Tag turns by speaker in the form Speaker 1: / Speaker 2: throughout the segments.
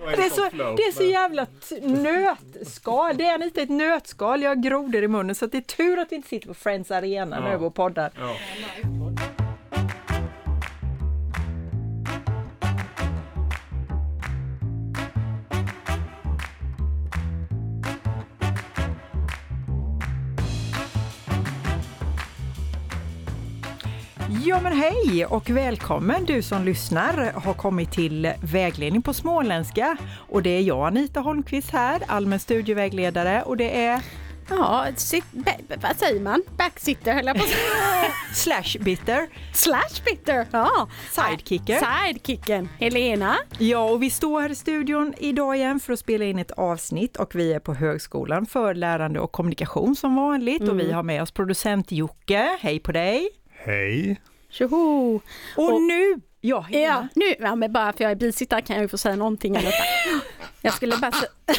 Speaker 1: är så, det är så jävla t- nötskal. Det är lite ett nötskal. Jag har grodor i munnen så att det är tur att vi inte sitter på Friends Arena när
Speaker 2: Ja.
Speaker 1: vi går och poddar.
Speaker 2: Ja.
Speaker 1: Ja men hej och välkommen du som lyssnar har kommit till Vägledning på småländska och det är jag Anita Holmqvist här, allmän studievägledare och det är
Speaker 3: Ja, sit, ba- ba- vad säger man? Backsitter höll jag på att säga.
Speaker 1: Slash Bitter.
Speaker 3: Slash bitter! Ja. Ah,
Speaker 1: Sidekicker.
Speaker 3: Sidekicken. Helena.
Speaker 1: Ja, och vi står här i studion idag igen för att spela in ett avsnitt och vi är på Högskolan för lärande och kommunikation som vanligt och vi har med oss producent Jocke. Hej på dig!
Speaker 2: Hej.
Speaker 3: Tjoho!
Speaker 1: Och,
Speaker 3: Och-
Speaker 1: nu, ja,
Speaker 3: Ja,
Speaker 1: Helena.
Speaker 3: nu, ja, men bara för jag är bisittare kan jag ju få säga någonting i alla fall. Jag skulle bara sä-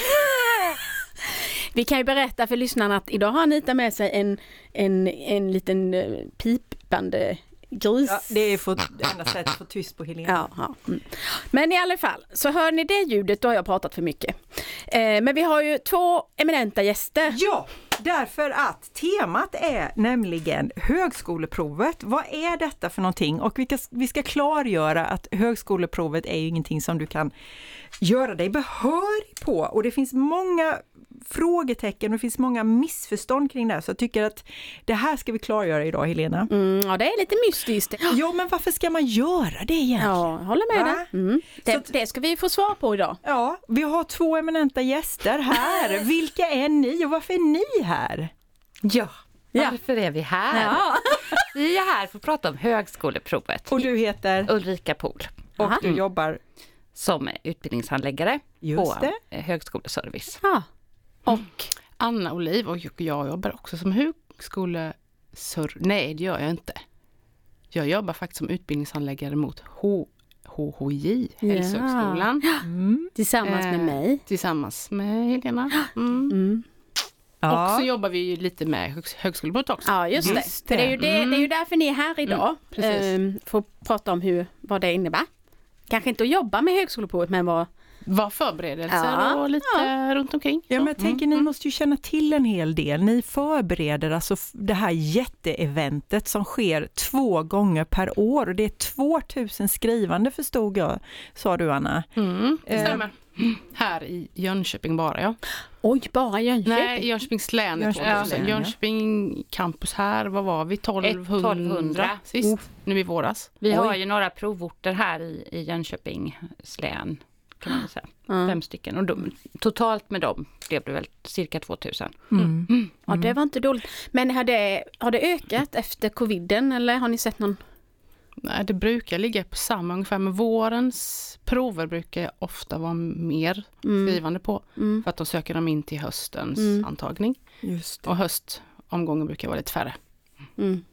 Speaker 3: Vi kan ju berätta för lyssnarna att idag har Anita med sig en, en, en liten eh, pipande gris.
Speaker 1: Ja, det är för, enda sättet att få tyst på Helena.
Speaker 3: Ja, ja. Mm. Men i alla fall, så hör ni det ljudet, då har jag pratat för mycket. Eh, men vi har ju två eminenta gäster.
Speaker 1: Ja, därför att temat är nämligen högskoleprovet. Vad är detta för någonting? Och vi ska, vi ska klargöra att högskoleprovet är ju ingenting som du kan göra dig behörig på. Och det finns många frågetecken och det finns många missförstånd kring det här. Så jag tycker att det här ska vi klargöra idag, Helena.
Speaker 3: Mm, ja, det är lite mystiskt.
Speaker 1: Ja, men varför ska man göra det egentligen?
Speaker 3: Ja, jag håller med
Speaker 1: Va?
Speaker 3: dig. Mm.
Speaker 1: Så
Speaker 3: Det,
Speaker 1: att-
Speaker 3: det ska vi få svar på idag.
Speaker 1: Ja, vi har två eminenta gäster här. Vilka är ni och varför är ni här?
Speaker 4: Ja,
Speaker 3: Ja.
Speaker 4: varför är vi här?
Speaker 3: Ja.
Speaker 4: Vi är här för att prata om högskoleprovet.
Speaker 1: Och du heter?
Speaker 4: Ulrika Pohl
Speaker 1: Och
Speaker 3: Aha.
Speaker 5: Mm.
Speaker 1: du jobbar?
Speaker 4: som utbildningshandläggare
Speaker 1: Just
Speaker 4: på
Speaker 1: det.
Speaker 4: eh, högskoleservice.
Speaker 3: Ja.
Speaker 5: Och Anna Oliv och jag jobbar också som högskolesör... Nej, det gör jag inte. Jag jobbar faktiskt som utbildningshandläggare mot H- HHJ,
Speaker 3: Ja.
Speaker 5: Hälsohögskolan,
Speaker 3: Tillsammans med
Speaker 5: Eh.
Speaker 3: mig.
Speaker 5: tillsammans med Helena. Mm.
Speaker 3: Mm.
Speaker 1: Ja.
Speaker 5: Och så jobbar vi ju lite med högs- högskolebrott också.
Speaker 3: Ja, just,
Speaker 1: Just
Speaker 3: det. För det är ju det,
Speaker 5: Mm.
Speaker 3: det är ju därför ni är här idag.
Speaker 5: precis.
Speaker 3: Ehm, för att prata om hur, vad det innebär. Kanske inte att jobba med högskoleprovet, men vad...
Speaker 5: Var förberedelser
Speaker 3: Ja. Alltså,
Speaker 5: och lite runt omkring.
Speaker 1: Ja,
Speaker 5: Så.
Speaker 1: men jag tänker
Speaker 5: Mm.
Speaker 1: ni måste ju känna till en hel del. Ni förbereder alltså f- det här jätteeventet som sker två gånger per år och det är 2000 skrivande förstod jag, sa du Anna.
Speaker 5: Mm, det
Speaker 1: Eh.
Speaker 5: stämmer. Här i Jönköping bara ja.
Speaker 3: Oj, bara Jönköping?
Speaker 5: Nej, Jönköpings län.
Speaker 1: Jönköpings
Speaker 5: Jönköpings,
Speaker 1: län, ja.
Speaker 5: Jönköping campus här, vad var vi? 1200,
Speaker 4: 1200.
Speaker 5: sist, nu i våras.
Speaker 4: Vi har ju några provorter här i, i Jönköpings län. Kan man väl säga. Fem stycken. Och de, totalt med dem blev det väl cirka 2000.
Speaker 3: Ja, det var inte dåligt. Men har det, har det ökat efter coviden eller har ni sett någon?
Speaker 5: Nej, det brukar ligga på samma ungefär, men vårens prover brukar jag ofta vara mer
Speaker 1: Mm.
Speaker 5: skrivande på. För att då söker de in till höstens antagning.
Speaker 1: Just
Speaker 5: Och höstomgången brukar vara lite färre.
Speaker 3: Mm.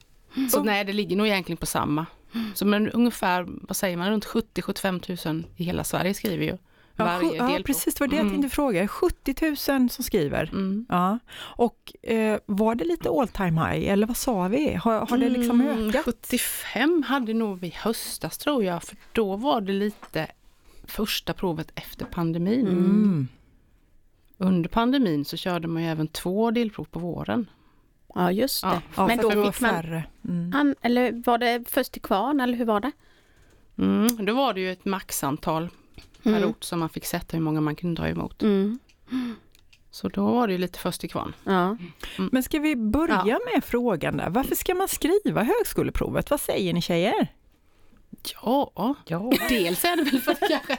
Speaker 5: Så nej, det ligger nog egentligen på samma. Så men ungefär, vad säger man, runt 70-75 000 i hela Sverige skriver ju
Speaker 1: Ja,
Speaker 5: varje Mm.
Speaker 1: sju- ja,
Speaker 5: delprov.
Speaker 1: precis, det var det jag tänkte fråga. 70 000 som skriver.
Speaker 5: Mm.
Speaker 1: Ja. Och eh, var det lite all time high eller vad sa vi? Har, har det liksom
Speaker 5: Mm,
Speaker 1: ökat?
Speaker 5: 75 hade nog vi höstas tror jag, för då var det lite första provet efter pandemin.
Speaker 1: Mm.
Speaker 5: Under pandemin så körde man ju även två delprov på våren.
Speaker 3: Ja, just det.
Speaker 5: Ja,
Speaker 1: Ja,
Speaker 3: men
Speaker 1: för att
Speaker 3: då
Speaker 1: det var
Speaker 3: fick man-
Speaker 1: färre. Mm.
Speaker 3: Han, eller var det först till kvarn eller hur var det?
Speaker 5: Mm, då var det ju ett maxantal per
Speaker 3: Mm.
Speaker 5: ort som man fick sätta hur många man kunde ta emot.
Speaker 3: Mm.
Speaker 5: Så då var det ju lite först till kvarn.
Speaker 3: Ja.
Speaker 1: Men ska vi börja med frågan där? Varför ska man skriva högskoleprovet? Vad säger ni tjejer?
Speaker 5: Ja,
Speaker 4: Ja.
Speaker 5: dels är det väl för att kanske...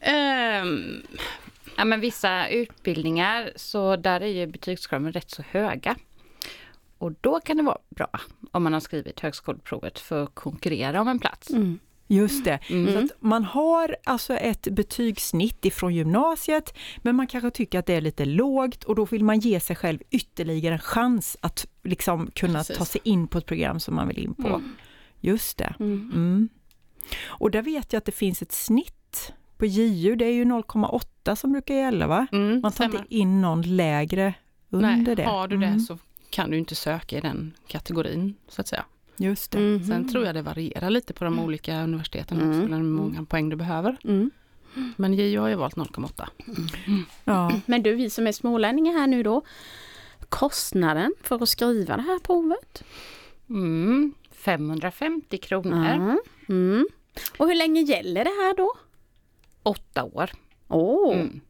Speaker 5: Ehm,
Speaker 4: Ja, men vissa utbildningar, så där är ju betygskraven rätt så höga. Och då kan det vara bra om man har skrivit högskoleprovet för att konkurrera om en plats.
Speaker 3: Mm.
Speaker 1: Just det. Så att man har alltså ett betygssnitt ifrån gymnasiet, men man kanske tycker att det är lite lågt och då vill man ge sig själv ytterligare en chans att liksom kunna
Speaker 5: Precis.
Speaker 1: ta sig in på ett program som man vill in på. Just det.
Speaker 3: Mm.
Speaker 1: Mm. Och där vet jag att det finns ett snitt på JU, det är ju 0,8 som brukar gälla va?
Speaker 5: mm,
Speaker 1: Man tar
Speaker 5: stämmer.
Speaker 1: inte in någon lägre under
Speaker 5: Nej,
Speaker 1: det.
Speaker 5: Har du det
Speaker 1: Mm,
Speaker 5: så kan du inte söka i den kategorin, så att säga.
Speaker 1: Just
Speaker 5: Mm.
Speaker 1: det.
Speaker 3: Mhm.
Speaker 5: Sen tror jag det varierar lite på de olika universiteten och
Speaker 3: Mm.
Speaker 5: högskolorna hur många poäng du behöver.
Speaker 3: Mm.
Speaker 5: Men JO har ju valt 0,8.
Speaker 1: Ja.
Speaker 3: Men du, vi som är smålänningar här nu då. Kostnaden för att skriva det här provet?
Speaker 4: Mm, 550 kronor,
Speaker 3: Mm. Mm. Och hur länge gäller det här då?
Speaker 4: åtta år.
Speaker 3: Åh!
Speaker 4: Mm.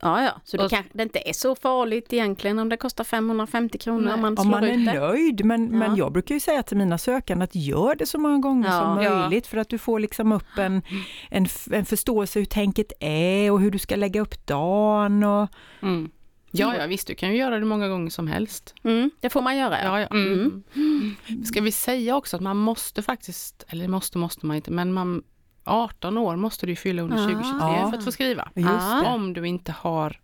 Speaker 3: Ja, ja, så det,
Speaker 4: Och-
Speaker 3: kanske, det inte är så farligt egentligen om det kostar 550 kronor om man slår
Speaker 1: Om man
Speaker 3: ut
Speaker 1: är
Speaker 3: det.
Speaker 1: nöjd, men, men
Speaker 3: Ja.
Speaker 1: jag brukar ju säga till mina sökande att gör det så många gånger som
Speaker 3: Ja.
Speaker 4: Ja.
Speaker 1: möjligt för att du får liksom upp en, en, f- en förståelse hur tänket är och hur du ska lägga upp dagen. Och,
Speaker 4: Mm.
Speaker 5: Ja, ja visst, du kan ju göra det många gånger som helst.
Speaker 3: Mm, det får man göra, ja.
Speaker 5: Ja, ja. Ska vi säga också att man måste faktiskt, eller måste måste man inte, men man, 18 år måste du ju fylla under
Speaker 3: Ah.
Speaker 5: 2023
Speaker 1: Ja.
Speaker 5: för att få skriva.
Speaker 1: just
Speaker 3: Ja.
Speaker 1: det.
Speaker 5: Om du inte har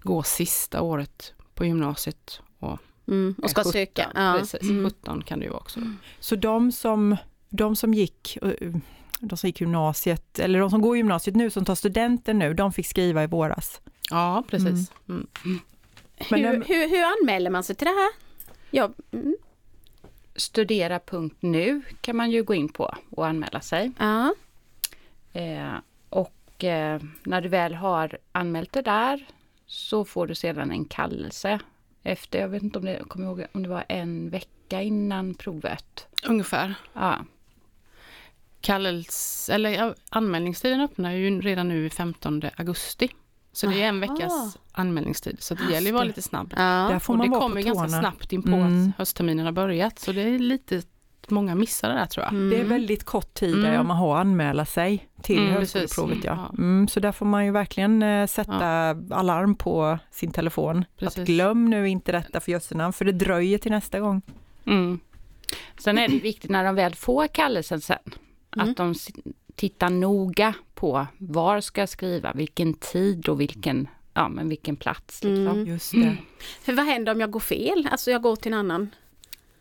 Speaker 5: gå sista året på gymnasiet och,
Speaker 3: Mm, och ska
Speaker 5: 17,
Speaker 3: söka. Ja.
Speaker 5: Precis, 17 kan du ju vara också.
Speaker 1: Så de som, de som gick eh, de som gick gymnasiet, eller de som går gymnasiet nu, som tar studenten nu, de fick skriva i våras.
Speaker 5: Ja, precis. Mm.
Speaker 1: Men
Speaker 3: hur,
Speaker 1: den-
Speaker 3: hur, hur anmäler man sig till det här? Ja, mm,
Speaker 4: Studera.nu kan man ju gå in på och anmäla sig.
Speaker 3: ja.
Speaker 4: Eh, och eh, när du väl har anmält det där så får du sedan en kallelse efter, jag vet inte om det, jag kommer ihåg om det var en vecka innan provet.
Speaker 5: Ungefär.
Speaker 4: Ja,
Speaker 5: Kallels, eller ja, anmälningstiden öppnar ju redan nu i 15 augusti. Så det är en
Speaker 3: Aha.
Speaker 5: veckas anmälningstid, så det gäller ju att vara lite snabb.
Speaker 3: ja.
Speaker 1: Där får
Speaker 5: och
Speaker 1: man
Speaker 5: det
Speaker 1: vara på
Speaker 5: kommer ganska
Speaker 1: tårna.
Speaker 5: snabbt in på
Speaker 1: Mm.
Speaker 5: att höstterminen har börjat, så det är lite, många missar det där tror jag.
Speaker 3: Mm.
Speaker 1: Det är väldigt kort tid där
Speaker 5: Mm.
Speaker 1: man har att anmäla sig till
Speaker 5: Mm,
Speaker 1: högskoleprovet.
Speaker 5: precis.
Speaker 1: Ja.
Speaker 5: Ja.
Speaker 1: Mm, så där får man ju verkligen eh, sätta alarm på sin telefon. Att
Speaker 5: Precis.
Speaker 1: glöm nu inte detta för jössenamn, för det dröjer till nästa gång.
Speaker 4: Mm. Sen är det viktigt när de väl får kallelsen sen, att de s- tittar noga på var ska jag skriva, vilken tid och vilken, ja, men vilken plats.
Speaker 1: Mm.
Speaker 4: Liksom.
Speaker 5: Mm.
Speaker 1: Just det.
Speaker 3: För vad händer om jag går fel? Alltså jag går till en annan.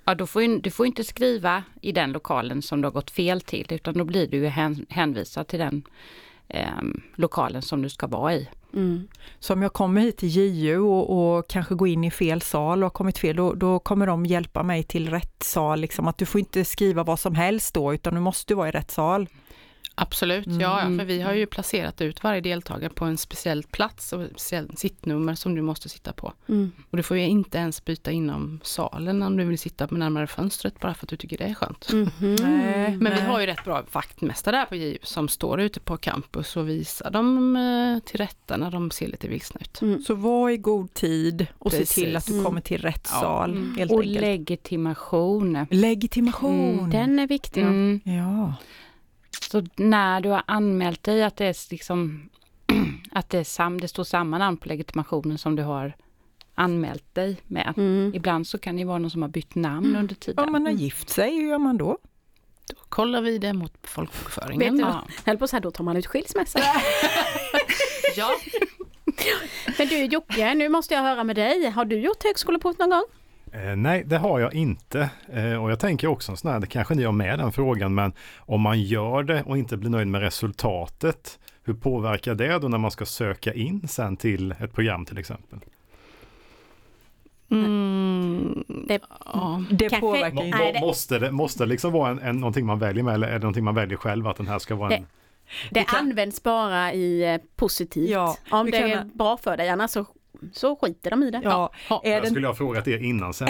Speaker 4: Ja, då får ju, du får inte skriva i den lokalen som du har gått fel till, utan då blir du ju hän, hänvisad till den ehm, lokalen som du ska vara i.
Speaker 1: Så om jag kommer hit till JU och, och kanske går in i fel sal och har kommit fel, då, då kommer de hjälpa mig till rätt sal. Liksom. Att du får inte skriva vad som helst då, utan du måste vara i rätt sal.
Speaker 5: Absolut,
Speaker 1: Mm.
Speaker 5: ja, ja, för vi har ju placerat ut varje deltagare på en speciell plats och ett speciellt sittnummer som du måste sitta på.
Speaker 1: Mm.
Speaker 5: Och du får ju inte ens byta inom salen om du vill sitta närmare fönstret bara för att du tycker det är skönt.
Speaker 1: Mm. Nej,
Speaker 5: Men vi har ju rätt bra vaktmästare här på JU som står ute på campus och visar dem eh, till rätta när de ser lite vilsna ut.
Speaker 1: Så var i god tid och
Speaker 5: Precis.
Speaker 1: se
Speaker 5: Mm.
Speaker 1: till att du kommer till rätt sal. Helt
Speaker 4: Och
Speaker 1: enkelt.
Speaker 4: legitimation.
Speaker 1: Legitimation.
Speaker 3: Den är viktig.
Speaker 4: Mm.
Speaker 1: Ja.
Speaker 4: Så när du har anmält dig att det är liksom att det, är sam, det står samma namn på legitimationen som du har anmält dig med.
Speaker 3: Mm.
Speaker 4: Ibland så kan det ju vara någon som har bytt namn
Speaker 1: Mm.
Speaker 4: under tiden.
Speaker 1: Om man har gift sig, hur gör man då?
Speaker 5: Då kollar vi det mot
Speaker 3: Vet
Speaker 5: folkbokföringen.
Speaker 3: du
Speaker 5: Ja.
Speaker 3: vad? Höll på så här, då tar man ut skilsmässa.
Speaker 5: Ja,
Speaker 3: Men du Jocke, nu måste jag höra med dig. Har du gjort högskoleprovet någon gång?
Speaker 2: Eh, nej, det har jag inte. Eh, och jag tänker också en sån här, det kanske ni har med den frågan, men om man gör det och inte blir nöjd med resultatet, hur påverkar det då när man ska söka in sen till ett program till exempel?
Speaker 5: mm,
Speaker 3: Det-
Speaker 5: ja.
Speaker 1: Det
Speaker 3: Kanske-
Speaker 1: påverkar ju.
Speaker 2: Må,
Speaker 3: Nej, det-
Speaker 2: må, måste det måste liksom vara en, en, någonting man väljer med eller är det någonting man väljer själv att den här ska vara en...
Speaker 3: Det- Det används bara i eh, positivt.
Speaker 1: Ja,
Speaker 3: Om
Speaker 1: du
Speaker 3: det
Speaker 1: kan-
Speaker 3: är bra för dig, annars så, så skiter de i det.
Speaker 1: Ja, är
Speaker 2: Jag
Speaker 1: det,
Speaker 2: skulle ha frågat er innan sen.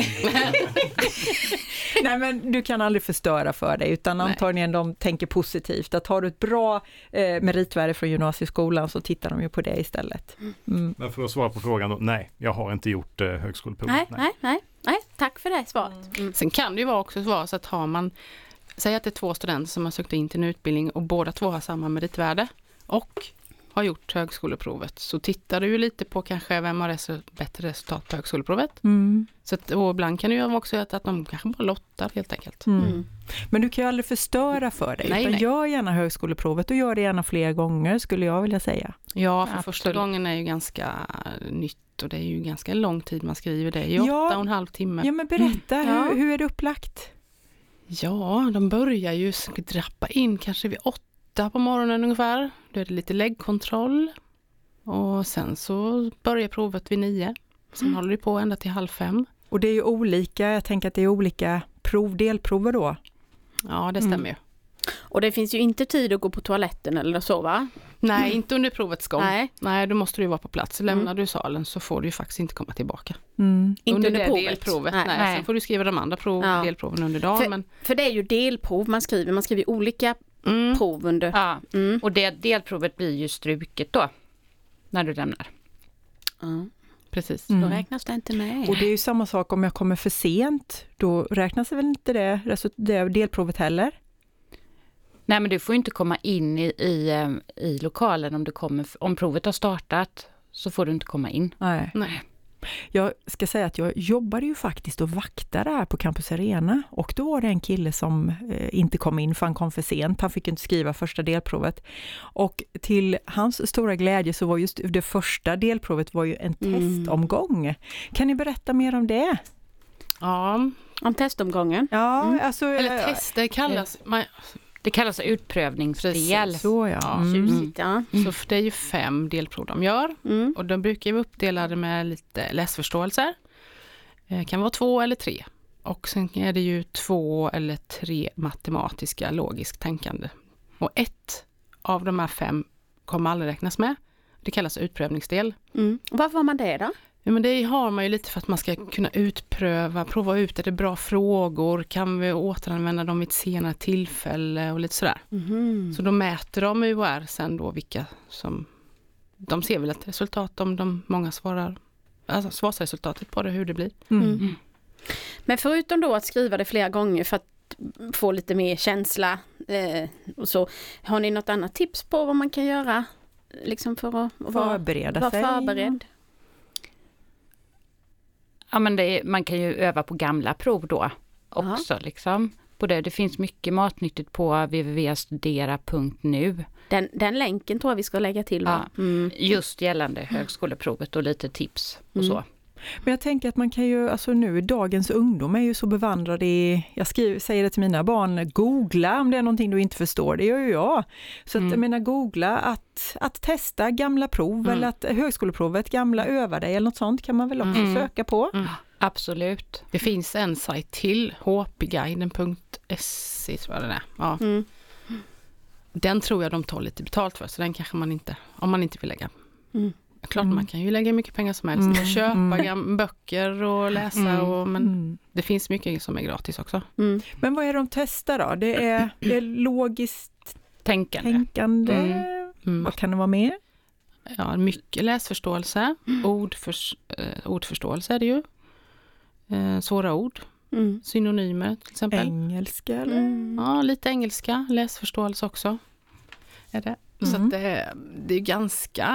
Speaker 1: nej men du kan aldrig förstöra för dig utan antagligen de tänker positivt att har du ett bra eh, meritvärde från gymnasieskolan så tittar de ju på det istället. Mm.
Speaker 2: Men för att svara på frågan då, nej, jag har inte gjort eh, högskoleprovet.
Speaker 3: Nej, nej, nej, nej. Tack för det svaret. Mm.
Speaker 5: Sen kan det ju vara också vara så att har man, säg att det är två studenter som har sökt in till en utbildning och båda två har samma meritvärde och har gjort högskoleprovet, så tittar du ju lite på kanske vem har resu- bättre resultat på högskoleprovet.
Speaker 1: Mm.
Speaker 5: Så att, och ibland kan det ju vara också att, att de kanske bara lottar helt enkelt.
Speaker 1: Mm.
Speaker 3: Mm.
Speaker 1: Men du kan ju aldrig förstöra för dig,
Speaker 5: Nej,
Speaker 1: utan
Speaker 5: nej.
Speaker 1: gör gärna högskoleprovet och gör det gärna fler gånger skulle jag vilja säga.
Speaker 5: Ja, för första
Speaker 4: Absolut.
Speaker 5: gången är ju ganska nytt och det är ju ganska lång tid man skriver, det är ju
Speaker 1: Ja.
Speaker 5: åtta och en halv timme.
Speaker 1: Ja men berätta,
Speaker 3: Ja.
Speaker 1: hur, hur är det upplagt?
Speaker 5: Ja, de börjar ju drappa in kanske vid åtta på morgonen ungefär. Då är det lite läggkontroll. Och sen så börjar provet vid nio. Sen håller det på ända till halv fem.
Speaker 1: Och det är ju olika, jag tänker att det är olika prov, delprover då.
Speaker 5: Ja, det stämmer ju.
Speaker 3: Och det finns ju inte tid att gå på toaletten eller så va?
Speaker 5: Nej, inte under provets gång. Nej,
Speaker 3: Nej,
Speaker 5: då måste du ju vara på plats. Lämnar du salen så får du ju faktiskt inte komma tillbaka.
Speaker 1: Mm.
Speaker 3: inte under,
Speaker 5: det
Speaker 3: provet.
Speaker 5: delprovet, nej.
Speaker 3: Nej.
Speaker 4: Nej.
Speaker 5: Sen får du skriva de andra prov,
Speaker 3: Ja.
Speaker 5: delproven under dagen. Men,
Speaker 3: För det är ju delprov man skriver, man skriver olika
Speaker 5: mm.
Speaker 3: prov under...
Speaker 4: Ja,
Speaker 3: Mm.
Speaker 4: och det delprovet blir ju struket då. När du lämnar.
Speaker 3: Ja.
Speaker 5: Precis.
Speaker 3: Då
Speaker 1: Mm.
Speaker 3: räknas det inte med.
Speaker 1: Och det är ju samma sak om jag kommer för sent, då räknas det väl inte det, resu- det delprovet heller?
Speaker 4: Nej men du får ju inte komma in i, i, em, i lokalen om, du kommer, f- om provet har startat. Så får du inte komma in.
Speaker 1: Nej.
Speaker 5: Nej.
Speaker 1: Jag ska säga att jag jobbade ju faktiskt och vaktade här på Campus Arena och då var det en kille som eh, inte kom in för han kom för sent. Han fick ju inte skriva första delprovet. Och till hans stora glädje så var just det första delprovet var ju en testomgång. Kan ni berätta mer om det?
Speaker 5: Ja,
Speaker 3: Om testomgången.
Speaker 1: Ja, alltså...
Speaker 5: eller
Speaker 1: eh,
Speaker 5: tester kallas... Man,
Speaker 4: Det kallas utprövningsdel.
Speaker 5: Precis.
Speaker 1: Så ja. Mm.
Speaker 3: Tjusigt ja.
Speaker 5: Så för det är ju fem delprov de gör.
Speaker 3: Mm.
Speaker 5: Och de brukar ju vara uppdelade med lite läsförståelser. Eh, kan vara två eller tre. Och sen är det ju två eller tre matematiska logiskt tänkande. Och ett av de här fem kommer aldrig räknas med. Det kallas utprövningsdel.
Speaker 3: Mm. Och Varför har man det då?
Speaker 5: Ja, men det har man ju lite för att man ska kunna utpröva, prova ut, är det bra frågor, kan vi återanvända dem vid ett senare tillfälle och lite sådär.
Speaker 3: Mhm.
Speaker 5: Så då mäter de UR sen då vilka som... De ser väl ett resultat om de många svarar, alltså svarsresultatet på det, hur det blir.
Speaker 1: Mm.
Speaker 3: Mm. Men förutom då att skriva det flera gånger för att få lite mer känsla eh, och så. Har ni något annat tips på vad man kan göra? Liksom för att vara,
Speaker 1: Förbereda
Speaker 3: vara
Speaker 1: sig.
Speaker 3: förberedd?
Speaker 4: Ja, men det är, man kan ju öva på gamla prov då också. Liksom. På det. det finns mycket matnyttigt på www.studera.nu.
Speaker 3: Den, den länken tror jag vi ska lägga till. va? Mm.
Speaker 4: Just gällande högskoleprovet och lite tips och så.
Speaker 1: Men jag tänker att man kan ju, alltså nu, dagens ungdom är ju så bevandrad i, jag skriver, säger det till mina barn, googla om det är någonting du inte förstår, det gör ju jag. Så att, jag menar googla, att, att testa gamla prov eller att högskoleprovet, gamla öva dig eller något sånt kan man väl också söka på.
Speaker 4: Absolut.
Speaker 5: Det finns en sajt till, hpguiden.se tror jag den är. Ja.
Speaker 3: Mm.
Speaker 5: Den tror jag de tar lite betalt för, så den kanske man inte, om man inte vill lägga.
Speaker 3: Mm.
Speaker 5: Klart man kan ju lägga hur mycket pengar som helst och köpa gam- böcker och läsa, och, men
Speaker 1: Mm.
Speaker 5: det finns mycket som är gratis också.
Speaker 3: Mm.
Speaker 1: Men vad är det de testar då? Det är, det är logiskt
Speaker 4: Tänkande.
Speaker 1: tänkande,
Speaker 5: Mm.
Speaker 1: vad kan det vara mer?
Speaker 5: Ja, mycket läsförståelse, ordförs- eh, ordförståelse är det ju. Eh, svåra ord,
Speaker 3: Mm.
Speaker 5: synonymer till exempel.
Speaker 1: Engelska eller?
Speaker 3: Mm.
Speaker 5: Ja, lite engelska, läsförståelse också. Är det. Så
Speaker 1: Mm.
Speaker 5: att det, det är ganska...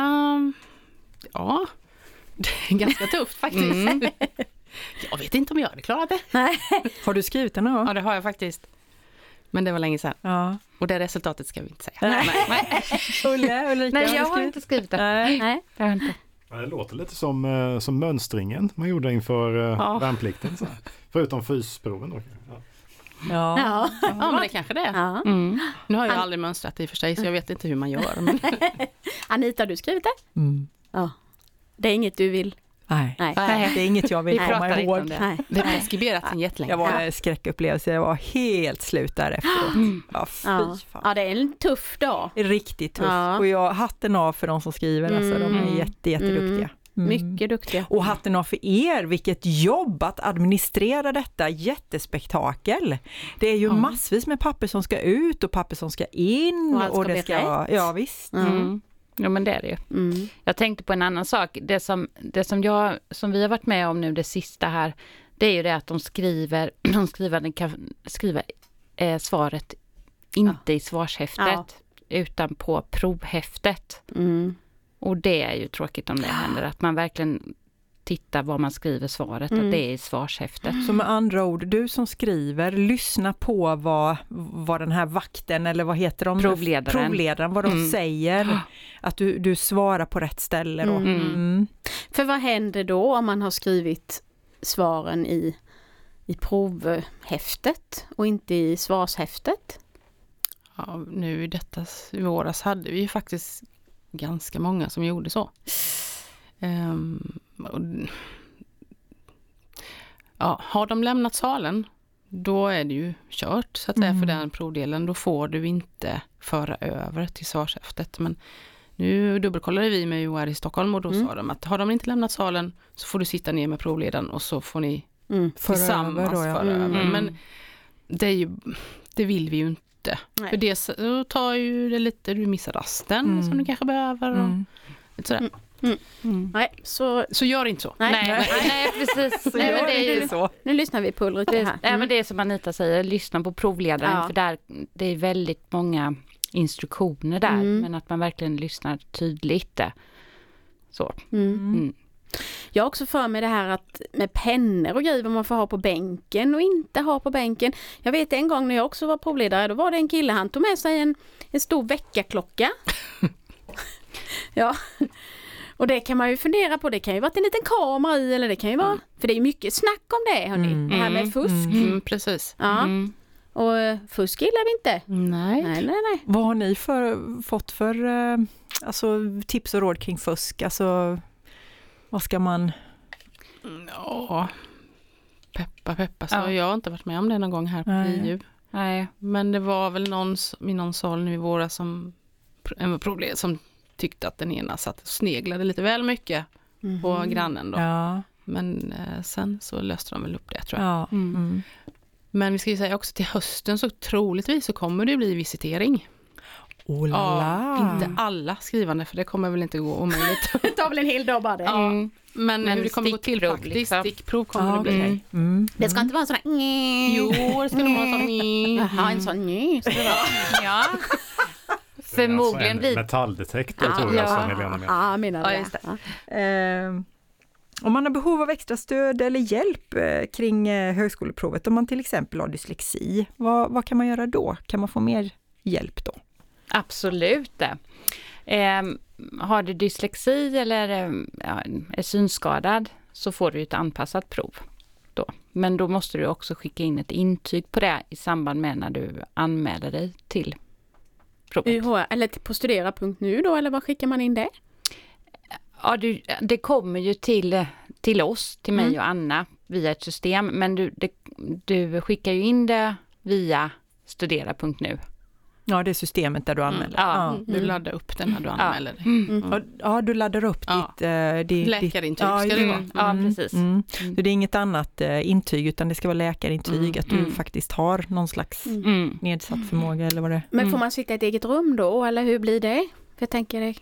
Speaker 5: Ja, det är ganska tufft faktiskt. Jag vet inte om jag hade klarat det.
Speaker 1: Har du skrivit den? Ja.
Speaker 5: Ja, det har jag faktiskt. Men det var länge sedan.
Speaker 1: ja.
Speaker 5: Och det resultatet ska vi inte säga.
Speaker 1: Ulle, Ulrika,
Speaker 4: Nej,
Speaker 1: har du
Speaker 4: jag har
Speaker 1: skrivit?
Speaker 4: inte skrivit det.
Speaker 1: Nej.
Speaker 3: Nej.
Speaker 4: Jag har inte.
Speaker 2: Ja, det låter lite som, eh, som mönstringen man gjorde inför eh,
Speaker 5: Ja.
Speaker 2: värnplikten. Så här. Förutom fysproven då. Ja.
Speaker 1: Ja.
Speaker 3: Ja.
Speaker 5: Ja, Mm. men det kanske det är.
Speaker 3: Ja.
Speaker 4: Mm.
Speaker 5: Nu har jag aldrig mönstrat i och för sig, så jag vet inte hur man gör. Men
Speaker 3: Anita, har du skrivit det?
Speaker 1: Mm.
Speaker 3: Ja. Det är inget du vill?
Speaker 1: Nej.
Speaker 3: Nej.
Speaker 4: Nej.
Speaker 1: det är inget jag vill
Speaker 4: Vi
Speaker 1: komma
Speaker 4: pratar inte
Speaker 1: ihåg.
Speaker 4: om det.
Speaker 3: Nej.
Speaker 5: det är preskriberat sedan jättelänge.
Speaker 1: Jag var en skräckupplevelse, jag var helt slut där efteråt. Ja, fy
Speaker 3: Ja.
Speaker 1: fan.
Speaker 3: ja, det är en tuff dag.
Speaker 1: Riktigt tufft.
Speaker 3: Ja.
Speaker 1: Och jag, hatten av för de som skriver, alltså, de är
Speaker 5: Mm.
Speaker 1: jätte, jätteduktiga. Mm.
Speaker 3: Mycket duktiga.
Speaker 1: Och hatten av för er, vilket jobb att administrera detta jättespektakel. Det är ju massvis med papper som ska ut och papper som ska in.
Speaker 3: Och allt ska
Speaker 1: det
Speaker 3: bli
Speaker 1: ska, ja, visst.
Speaker 4: Mm. Ja, men det är det ju.
Speaker 3: Mm.
Speaker 4: Jag tänkte på en annan sak. Det som, det som, jag, som vi har varit med om nu det sista här, det är ju det att de skriver, de skrivande kan skriva eh, svaret inte i svarshäftet, utan på provhäftet.
Speaker 3: Mm.
Speaker 4: Och det är ju tråkigt om det händer, att man verkligen tittar vad man skriver svaret, att det är i svarshäftet.
Speaker 1: Så med andra ord, du som skriver, lyssna på vad, vad den här vakten eller vad heter de?
Speaker 4: Provledaren.
Speaker 1: Provledaren, vad de säger. Att du, du svarar på rätt ställe då.
Speaker 3: Mm.
Speaker 1: Mm.
Speaker 3: För vad händer då om man har skrivit svaren i, i provhäftet och inte i svarshäftet?
Speaker 5: Ja, nu i detta s- i våras hade vi ju faktiskt ganska många som gjorde så. Ehm, och, ja, har de lämnat salen då är det ju kört så att säga
Speaker 1: Mm.
Speaker 5: för den provdelen. Då får du inte föra över till svarshäftet. Men nu dubbelkollade vi med UR i Stockholm och då
Speaker 1: Mm.
Speaker 5: sa de att har de inte lämnat salen så får du sitta ner med provledaren och så får ni
Speaker 3: Mm.
Speaker 1: Föra
Speaker 5: tillsammans
Speaker 1: över då, ja.
Speaker 5: föra över.
Speaker 4: Mm.
Speaker 5: Men det, är ju, det vill vi ju inte.
Speaker 3: Nej.
Speaker 5: För det s- då tar ju det lite, du missar rasten
Speaker 1: Mm.
Speaker 5: som du kanske behöver. Och
Speaker 1: Mm.
Speaker 5: lite sådär.
Speaker 3: Nej, så...
Speaker 5: Så gör inte så.
Speaker 3: Nej.
Speaker 4: Mm. Nej, nej, nej precis. Nej, men det är ju,
Speaker 1: så.
Speaker 3: Nu lyssnar vi på Ulrika
Speaker 4: det,
Speaker 3: här.
Speaker 4: nej, men det är som Anita säger, lyssna på provledaren
Speaker 3: Mm. Ja.
Speaker 4: för där, det är väldigt många instruktioner där
Speaker 3: Mm.
Speaker 4: men att man verkligen lyssnar tydligt. Så.
Speaker 3: Mm.
Speaker 4: Mm.
Speaker 3: Jag har också för mig det här att med pennor och grejer vad man får ha på bänken och inte ha på bänken. Jag vet en gång när jag också var provledare, då var det en kille, han tog med sig en, en stor väckarklocka. ja. Och det kan man ju fundera på, det kan ju vara en liten kamera i eller det kan ju vara, för det är ju mycket snack om det hörni,
Speaker 1: Mm.
Speaker 3: det här med fusk.
Speaker 5: Mm, precis.
Speaker 3: Ja,
Speaker 4: Mm.
Speaker 3: och eh, fusk gillar vi inte.
Speaker 5: Nej.
Speaker 3: Nej, nej, nej.
Speaker 1: Vad har ni för, fått för eh, alltså, tips och råd kring fusk? Alltså, vad ska man...
Speaker 5: Ja. Peppa, peppa, så
Speaker 4: Ja.
Speaker 5: jag har inte varit med om det någon gång här på
Speaker 1: Nej.
Speaker 5: IU.
Speaker 4: Nej.
Speaker 5: Men det var väl någon s- i någon sal nu i våras som, en problem, som tyckte att den ena satt och sneglade lite väl mycket på
Speaker 3: Mm.
Speaker 5: grannen då.
Speaker 1: Mm. Ja,
Speaker 5: Men eh, sen så löste de väl upp det tror jag.
Speaker 1: ja.
Speaker 4: Mm.
Speaker 1: Mm.
Speaker 5: Men vi ska ju säga också till hösten så troligtvis så kommer det ju bli visitering.
Speaker 1: Oh la
Speaker 5: Ja,
Speaker 1: la.
Speaker 5: inte alla skrivande för det kommer väl inte gå omöjligt.
Speaker 3: Det tar väl en hel dag bara det.
Speaker 5: ja, Mm. men, hur det kommer gå till
Speaker 4: stickprov,
Speaker 5: praktiskt,
Speaker 4: liksom.
Speaker 5: stickprov kommer
Speaker 1: Ja,
Speaker 5: det bli.
Speaker 1: okej. Mm.
Speaker 3: Det ska inte vara en sån här...
Speaker 5: Jo, det ska nog vara sån...
Speaker 3: Jaha, en sån ny.
Speaker 4: Ja. Förmodligen
Speaker 2: alltså en
Speaker 4: blir
Speaker 2: metalldetektor tror jag som Helena menar.
Speaker 3: Ja, menar du
Speaker 4: Ja,
Speaker 3: det?
Speaker 4: just det.
Speaker 3: Ja.
Speaker 1: Eh, om man har behov av extra stöd eller hjälp eh, kring eh, högskoleprovet, om man till exempel har dyslexi, vad, vad kan man göra då? Kan man få mer hjälp då?
Speaker 4: Absolut det. Ehm, har du dyslexi eller ehm, ja, är synskadad så får du ett anpassat prov. Då. Men då måste du också skicka in ett intyg på det i samband med när du anmäler dig till provet.
Speaker 3: UH, eller till- på studera.nu då, eller var skickar man in det?
Speaker 4: Ja, du, det kommer ju till, till oss, till mig och Anna, via ett system. Men du, det, du skickar ju in det via studera.nu.
Speaker 1: Ja, det är systemet där du anmäler.
Speaker 4: Mm, ja.
Speaker 1: Ja.
Speaker 5: Du laddar upp den när du anmäler dig.
Speaker 1: Ja, ja, du laddar upp
Speaker 5: Ja.
Speaker 1: ditt... eh, ditt ditt-
Speaker 5: Läkarintyg
Speaker 1: ja,
Speaker 5: ska det
Speaker 1: just
Speaker 5: vara.
Speaker 4: Ja, precis.
Speaker 1: Mm. Så det är inget annat eh, intyg, utan det ska vara läkarintyg, att du faktiskt har någon slags
Speaker 4: Mm.
Speaker 1: nedsatt förmåga eller vad det är.
Speaker 3: Men får man sitta i ett eget rum då, eller hur blir det? För jag tänker det.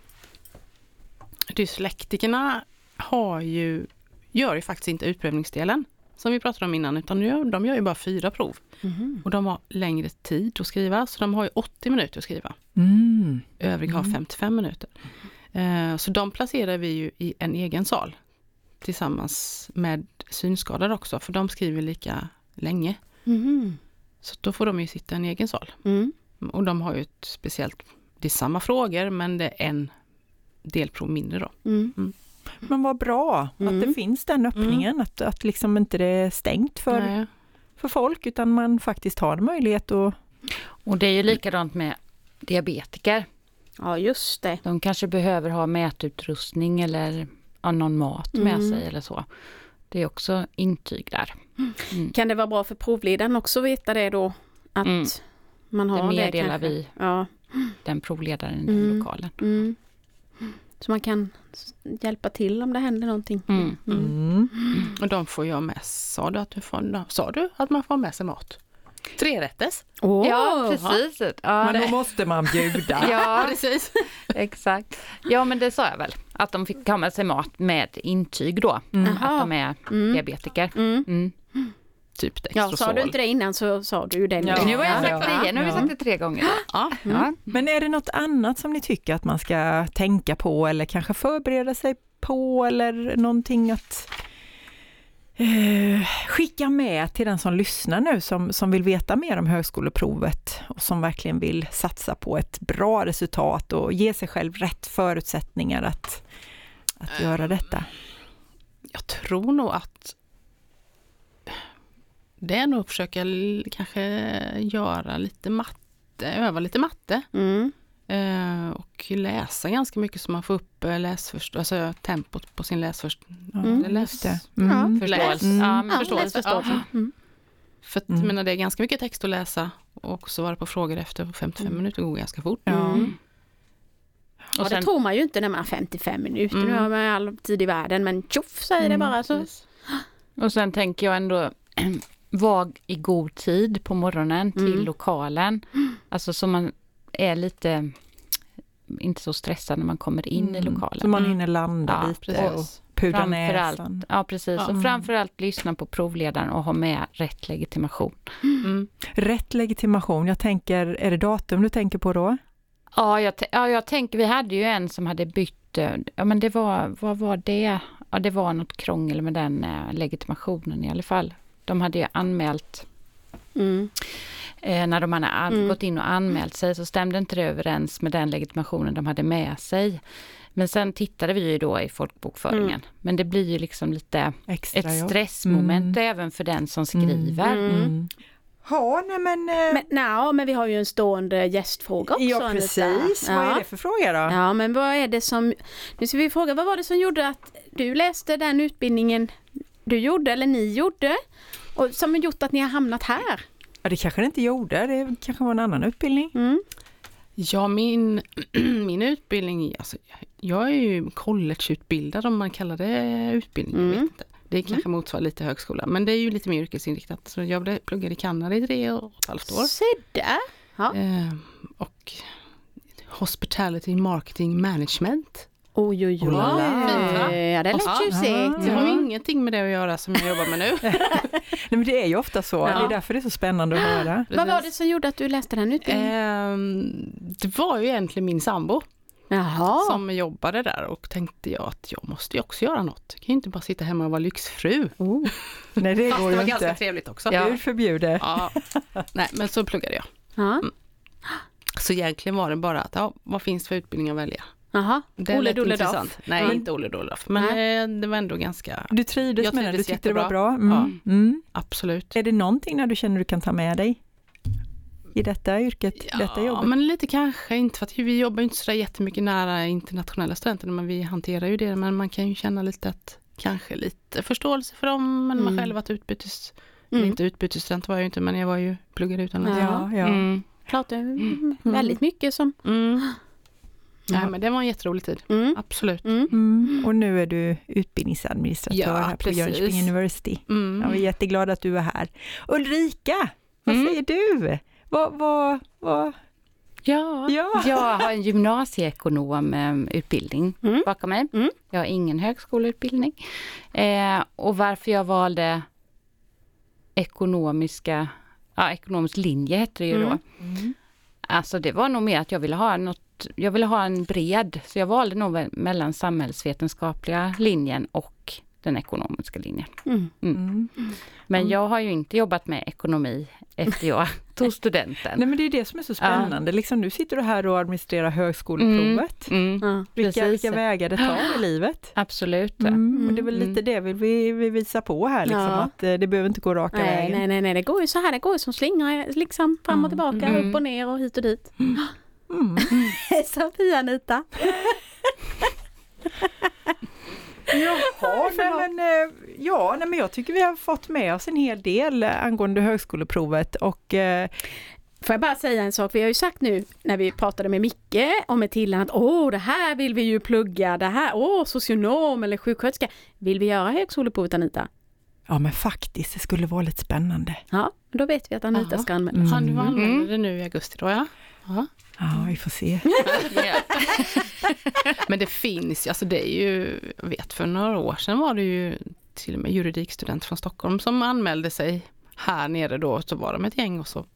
Speaker 5: Dyslektikerna har ju, gör ju faktiskt inte utprövningsdelen som vi pratade om innan, utan de gör, de gör ju bara fyra prov. Och de har längre tid att skriva, så de har ju 80 minuter att skriva.
Speaker 1: Mm.
Speaker 5: Övriga har 55 minuter. Eh, Så de placerar vi ju i en egen sal tillsammans med synskadade också, för de skriver lika länge. Så då får de ju sitta i en egen sal.
Speaker 3: Mm-hmm. Mm.
Speaker 5: Och de har ju ett speciellt, det är samma frågor, men det är en delprov mindre då.
Speaker 3: Mm.
Speaker 1: Men vad bra att det
Speaker 4: Mm.
Speaker 1: finns den öppningen, att, att liksom inte det är stängt för,
Speaker 5: Nej.
Speaker 1: för folk, utan man faktiskt har en möjlighet att...
Speaker 4: Och det är ju likadant med diabetiker.
Speaker 3: Ja, just det.
Speaker 4: De kanske behöver ha mätutrustning eller ja, någon mat med sig eller så. Det är också intyg där.
Speaker 3: Kan det vara bra för provledaren också att veta det då? Att
Speaker 4: Mm.
Speaker 3: man har
Speaker 4: Det meddelar
Speaker 3: kanske?
Speaker 4: vi.
Speaker 3: Ja.
Speaker 4: Den provledaren i den
Speaker 3: Mm.
Speaker 4: lokalen.
Speaker 3: Mm. Så man kan s- hjälpa till om det händer någonting.
Speaker 4: Mm.
Speaker 1: Mm.
Speaker 5: Och de får jag med, sa du att, du får, sa du att man får ha med sig mat? Trerättes?
Speaker 3: Åh!
Speaker 4: ja, precis. Ja,
Speaker 1: Men då måste man bjuda.
Speaker 4: ja,
Speaker 5: Precis.
Speaker 4: exakt. Ja, men det sa jag väl. Att de fick ha med sig mat med intyg då. Att de är diabetiker. Mm.
Speaker 5: Typ
Speaker 3: Ja, sa
Speaker 5: Dextrosol.
Speaker 3: du inte det innan så sa du ju det nu.
Speaker 1: Ja.
Speaker 4: Nu har jag sagt det
Speaker 1: Ja.
Speaker 4: igen. Nu har vi
Speaker 1: Ja.
Speaker 4: sagt det tre gånger.
Speaker 5: Ja.
Speaker 4: Ja. mm.
Speaker 1: Men är det något annat som ni tycker att man ska tänka på eller kanske förbereda sig på eller någonting att eh, skicka med till den som lyssnar nu som, som vill veta mer om högskoleprovet och som verkligen vill satsa på ett bra resultat och ge sig själv rätt förutsättningar att, att göra detta?
Speaker 5: Jag tror nog att det är nog att försöka l- kanske göra lite matte, öva lite matte
Speaker 3: Mm.
Speaker 5: eh, och läsa ganska mycket så man får upp eh, läsförst- alltså tempot på sin läsförst-
Speaker 1: Ja,
Speaker 5: eller
Speaker 1: just det.
Speaker 5: läs-
Speaker 1: Mm.
Speaker 5: Läs.
Speaker 4: Förståelse. Ja, men
Speaker 3: Ja,
Speaker 5: förståelse.
Speaker 3: läsförståelse.
Speaker 5: Ja.
Speaker 3: Mm.
Speaker 5: För att, jag menar, det är ganska mycket text att läsa och svara på frågor efter 55 minuter går ganska fort.
Speaker 3: Mm.
Speaker 5: Och
Speaker 3: Och
Speaker 5: sen-
Speaker 3: det tror man ju inte när man är 55 minuter, nu har man ju all tid i världen men tjoff säger
Speaker 5: Mm.
Speaker 3: det bara så.
Speaker 4: Och sen tänker jag ändå vara i god tid på morgonen till
Speaker 3: Mm.
Speaker 4: lokalen. Alltså så man är lite inte så stressad när man kommer in i
Speaker 1: Mm, Så
Speaker 4: lokalen.
Speaker 1: man hinner landa
Speaker 4: Ja,
Speaker 1: lite och
Speaker 5: Precis.
Speaker 1: pudra
Speaker 4: Framförallt.
Speaker 1: näsan.
Speaker 4: Ja precis,
Speaker 5: Ja.
Speaker 4: och framförallt lyssna på provledaren och ha med rätt legitimation.
Speaker 5: Mm.
Speaker 1: Rätt legitimation, jag tänker, är det datum du tänker på då?
Speaker 4: Ja, jag, tän- ja, jag tänker, vi hade ju en som hade bytt, eh, ja men det var, vad var det? Ja, det var något krångel med den eh, legitimationen i alla fall. De hade ju anmält,
Speaker 3: Mm.
Speaker 4: eh, när de hade an-
Speaker 3: Mm.
Speaker 4: gått in och anmält sig så stämde inte det överens med den legitimationen de hade med sig. Men sen tittade vi ju då i folkbokföringen. Men det blir ju liksom lite
Speaker 1: Extra
Speaker 4: ett
Speaker 1: jobb.
Speaker 4: stressmoment även för den som skriver.
Speaker 1: Mm. Ja, nej men... eh,
Speaker 3: Men, nej, men vi har ju en stående gästfråga också
Speaker 1: ja,
Speaker 3: Anita.
Speaker 1: precis. Vad är det för fråga då?
Speaker 3: Ja men vad är det som, nu ska vi fråga, vad var det som gjorde att du läste den utbildningen du gjorde eller ni gjorde? Och som har gjort att ni har hamnat här?
Speaker 1: Ja, det kanske det inte gjorde, det kanske var en annan utbildning.
Speaker 3: Mm.
Speaker 5: Ja, min, min utbildning, alltså, jag är ju collegeutbildad om man kallar det utbildning. Jag
Speaker 3: Mm.
Speaker 5: vet inte. Det kanske motsvarar lite högskola, men det är ju lite mer yrkesinriktat. Så jag blev- pluggade i Kanada i tre och ett halvt år.
Speaker 3: Se där! Ja.
Speaker 5: Ehm, och hospitality marketing management.
Speaker 3: Oj oj oj.
Speaker 1: Oh la la.
Speaker 5: Fint, va?
Speaker 3: Ja det lät
Speaker 5: Ja.
Speaker 3: tjusigt.
Speaker 5: Det har ju ingenting med det att göra som jag jobbar med nu.
Speaker 1: Nej, men det är ju ofta så, det är därför det är så spännande att höra.
Speaker 3: Vad var det som gjorde att du läste den utbildningen?
Speaker 5: Ehm, det var ju egentligen min sambo
Speaker 3: Jaha.
Speaker 5: som jobbade där och tänkte jag att jag måste ju också göra något. Jag kan ju inte bara sitta hemma och vara lyxfru.
Speaker 1: Oh. Nej, det
Speaker 5: Fast
Speaker 1: går ju
Speaker 5: det var
Speaker 1: inte.
Speaker 5: ganska trevligt också.
Speaker 1: Gud förbjude.
Speaker 5: Ja. Nej, men så pluggade jag.
Speaker 3: Ja.
Speaker 5: Så egentligen var det bara att, ja, vad finns det för utbildning att välja?
Speaker 3: Jaha.
Speaker 5: Mm, Det
Speaker 3: Ole
Speaker 5: lät
Speaker 3: Dole
Speaker 5: intressant.
Speaker 3: Doff.
Speaker 5: Nej,
Speaker 3: Ja.
Speaker 5: inte Olle Dolof, men eh, det var ändå ganska,
Speaker 1: Du trivdes
Speaker 5: Jag
Speaker 1: med det, du
Speaker 5: trivdes
Speaker 1: tyckte det var bra. Mm. Mm.
Speaker 5: absolut.
Speaker 1: Är det någonting när du känner du kan ta med dig i detta yrket, detta
Speaker 5: Ja,
Speaker 1: jobbet?
Speaker 5: men lite kanske inte, för att vi jobbar ju inte sådär jättemycket nära internationella studenter, men vi hanterar ju det, men man kan ju känna lite att kanske lite förståelse för dem, men man
Speaker 3: Mm.
Speaker 5: själv varit utbytes,
Speaker 3: Mm.
Speaker 5: inte utbytesstudent var jag ju inte, men jag var ju pluggade utomlands.
Speaker 1: Ja, ja.
Speaker 5: Mm.
Speaker 3: Klart det är väldigt mycket som...
Speaker 5: Mm. Nej, men det var en jätterolig tid,
Speaker 3: Mm.
Speaker 5: absolut.
Speaker 3: Mm.
Speaker 1: Mm. Och nu är du utbildningsadministratör
Speaker 5: Ja,
Speaker 1: här på
Speaker 5: precis.
Speaker 1: Jönköping University.
Speaker 5: Mm.
Speaker 1: Jag är jätteglad att du är här. Ulrika, vad
Speaker 4: Mm.
Speaker 1: säger du? Vad, vad, vad?
Speaker 4: Ja,
Speaker 1: Ja.
Speaker 4: jag har en gymnasieekonomutbildning
Speaker 3: Mm.
Speaker 4: bakom mig.
Speaker 3: Mm.
Speaker 4: Jag har ingen högskoleutbildning. Eh, och varför jag valde ekonomiska, ja, ekonomisk linje hette det ju då.
Speaker 3: Mm.
Speaker 4: Alltså det var nog mer att jag ville ha något, jag ville ha en bred, så jag valde nog väl mellan samhällsvetenskapliga linjen och den ekonomiska linjen.
Speaker 3: Mm.
Speaker 1: Mm.
Speaker 4: Men jag har ju inte jobbat med ekonomi efter jag tog studenten.
Speaker 1: Nej men det är det som är så spännande, liksom, nu sitter du här och administrerar högskoleprovet.
Speaker 4: Mm,
Speaker 3: Ja.
Speaker 1: Vilka,
Speaker 4: precis.
Speaker 1: vilka vägar det tar i livet.
Speaker 4: absolut.
Speaker 1: Mm. Och det är väl lite det vi, vi, vi visar på här, liksom,
Speaker 3: Ja.
Speaker 1: att eh, det behöver inte gå raka
Speaker 3: Nej,
Speaker 1: vägen.
Speaker 3: nej, nej, nej, det går ju så här, det går ju som slingrar liksom fram och tillbaka,
Speaker 4: Mm.
Speaker 3: upp och ner och hit och dit.
Speaker 1: Mm.
Speaker 3: Sofia Anita.
Speaker 1: Ja, nej, men, eh, ja nej, men jag tycker vi har fått med oss en hel del eh, angående högskoleprovet och eh,
Speaker 3: Får jag bara säga en sak, vi har ju sagt nu när vi pratade med Micke och med Tillan att åh, det här vill vi ju plugga, det här, åh, socionom eller sjuksköterska. Vill vi göra högskoleprovet Anita?
Speaker 1: ja men faktiskt, det skulle vara lite spännande. Mm.
Speaker 3: Ja, då vet vi att Anita
Speaker 5: Aha.
Speaker 3: ska anmäla.
Speaker 5: Ja, du använder det nu i augusti då ja. ja.
Speaker 1: Ja, vi får se.
Speaker 5: Men det finns ju, alltså det är ju, jag vet för några år sedan var det ju till och med juridikstudent från Stockholm som anmälde sig här nere då, så var de ett gäng och så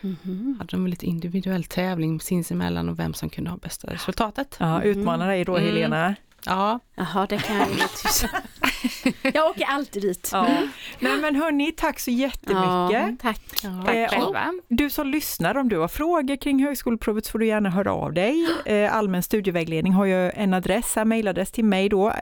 Speaker 1: Mm.
Speaker 5: hade de lite individuell tävling sinsemellan och vem som kunde ha bästa resultatet.
Speaker 1: Ja, utmana dig då
Speaker 5: Mm.
Speaker 1: Helena.
Speaker 5: Ja,
Speaker 3: Jaha, det kan jag ju inte. Jag åker alltid dit.
Speaker 1: Ja. Nej men hörni, tack så jättemycket.
Speaker 3: Ja, tack.
Speaker 5: ja.
Speaker 1: Eh,
Speaker 4: Tack
Speaker 1: och
Speaker 4: själva.
Speaker 1: du som lyssnar, om du har frågor kring högskoleprovet så får du gärna höra av dig. Eh, Allmän studievägledning har ju en adress, här, mejladress till mig då,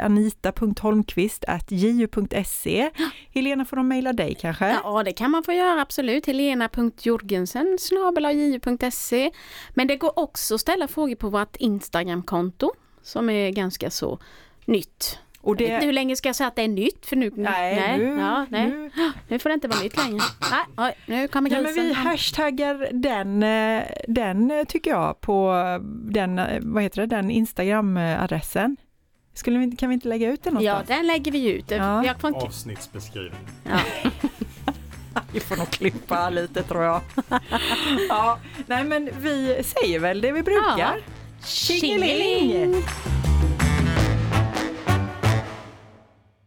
Speaker 1: anita.holmqvist.ju.se. e. Helena, får de mejla dig kanske?
Speaker 3: Ja, det kan man få göra absolut. Helena.jorgensen snabel-ju.se. Men det går också att ställa frågor på vårt Instagramkonto som är ganska så nytt.
Speaker 1: Och
Speaker 3: Jag vet inte
Speaker 1: det,
Speaker 3: hur länge ska jag säga att det är nytt? För nu,
Speaker 1: Nej, nu-
Speaker 3: ja, nej.
Speaker 1: nu.
Speaker 3: nu får det inte vara nytt längre. Nej, oj, nu kommer
Speaker 1: Ja,
Speaker 3: grisen.
Speaker 1: men vi hashtaggar den, eh, den eh, tycker jag på den, eh, vad heter det, den Instagram-adressen. Skulle vi, kan vi inte lägga ut den
Speaker 3: ja
Speaker 1: någonstans?
Speaker 3: den lägger vi ut.
Speaker 1: Ja.
Speaker 3: Vi har kvar en kul-
Speaker 2: Avsnittsbeskrivning.
Speaker 1: Vi får nog klippa lite tror jag. ja, nej men vi säger väl det vi brukar.
Speaker 3: Ja.
Speaker 1: Tjingeling!
Speaker 3: Tjingeling!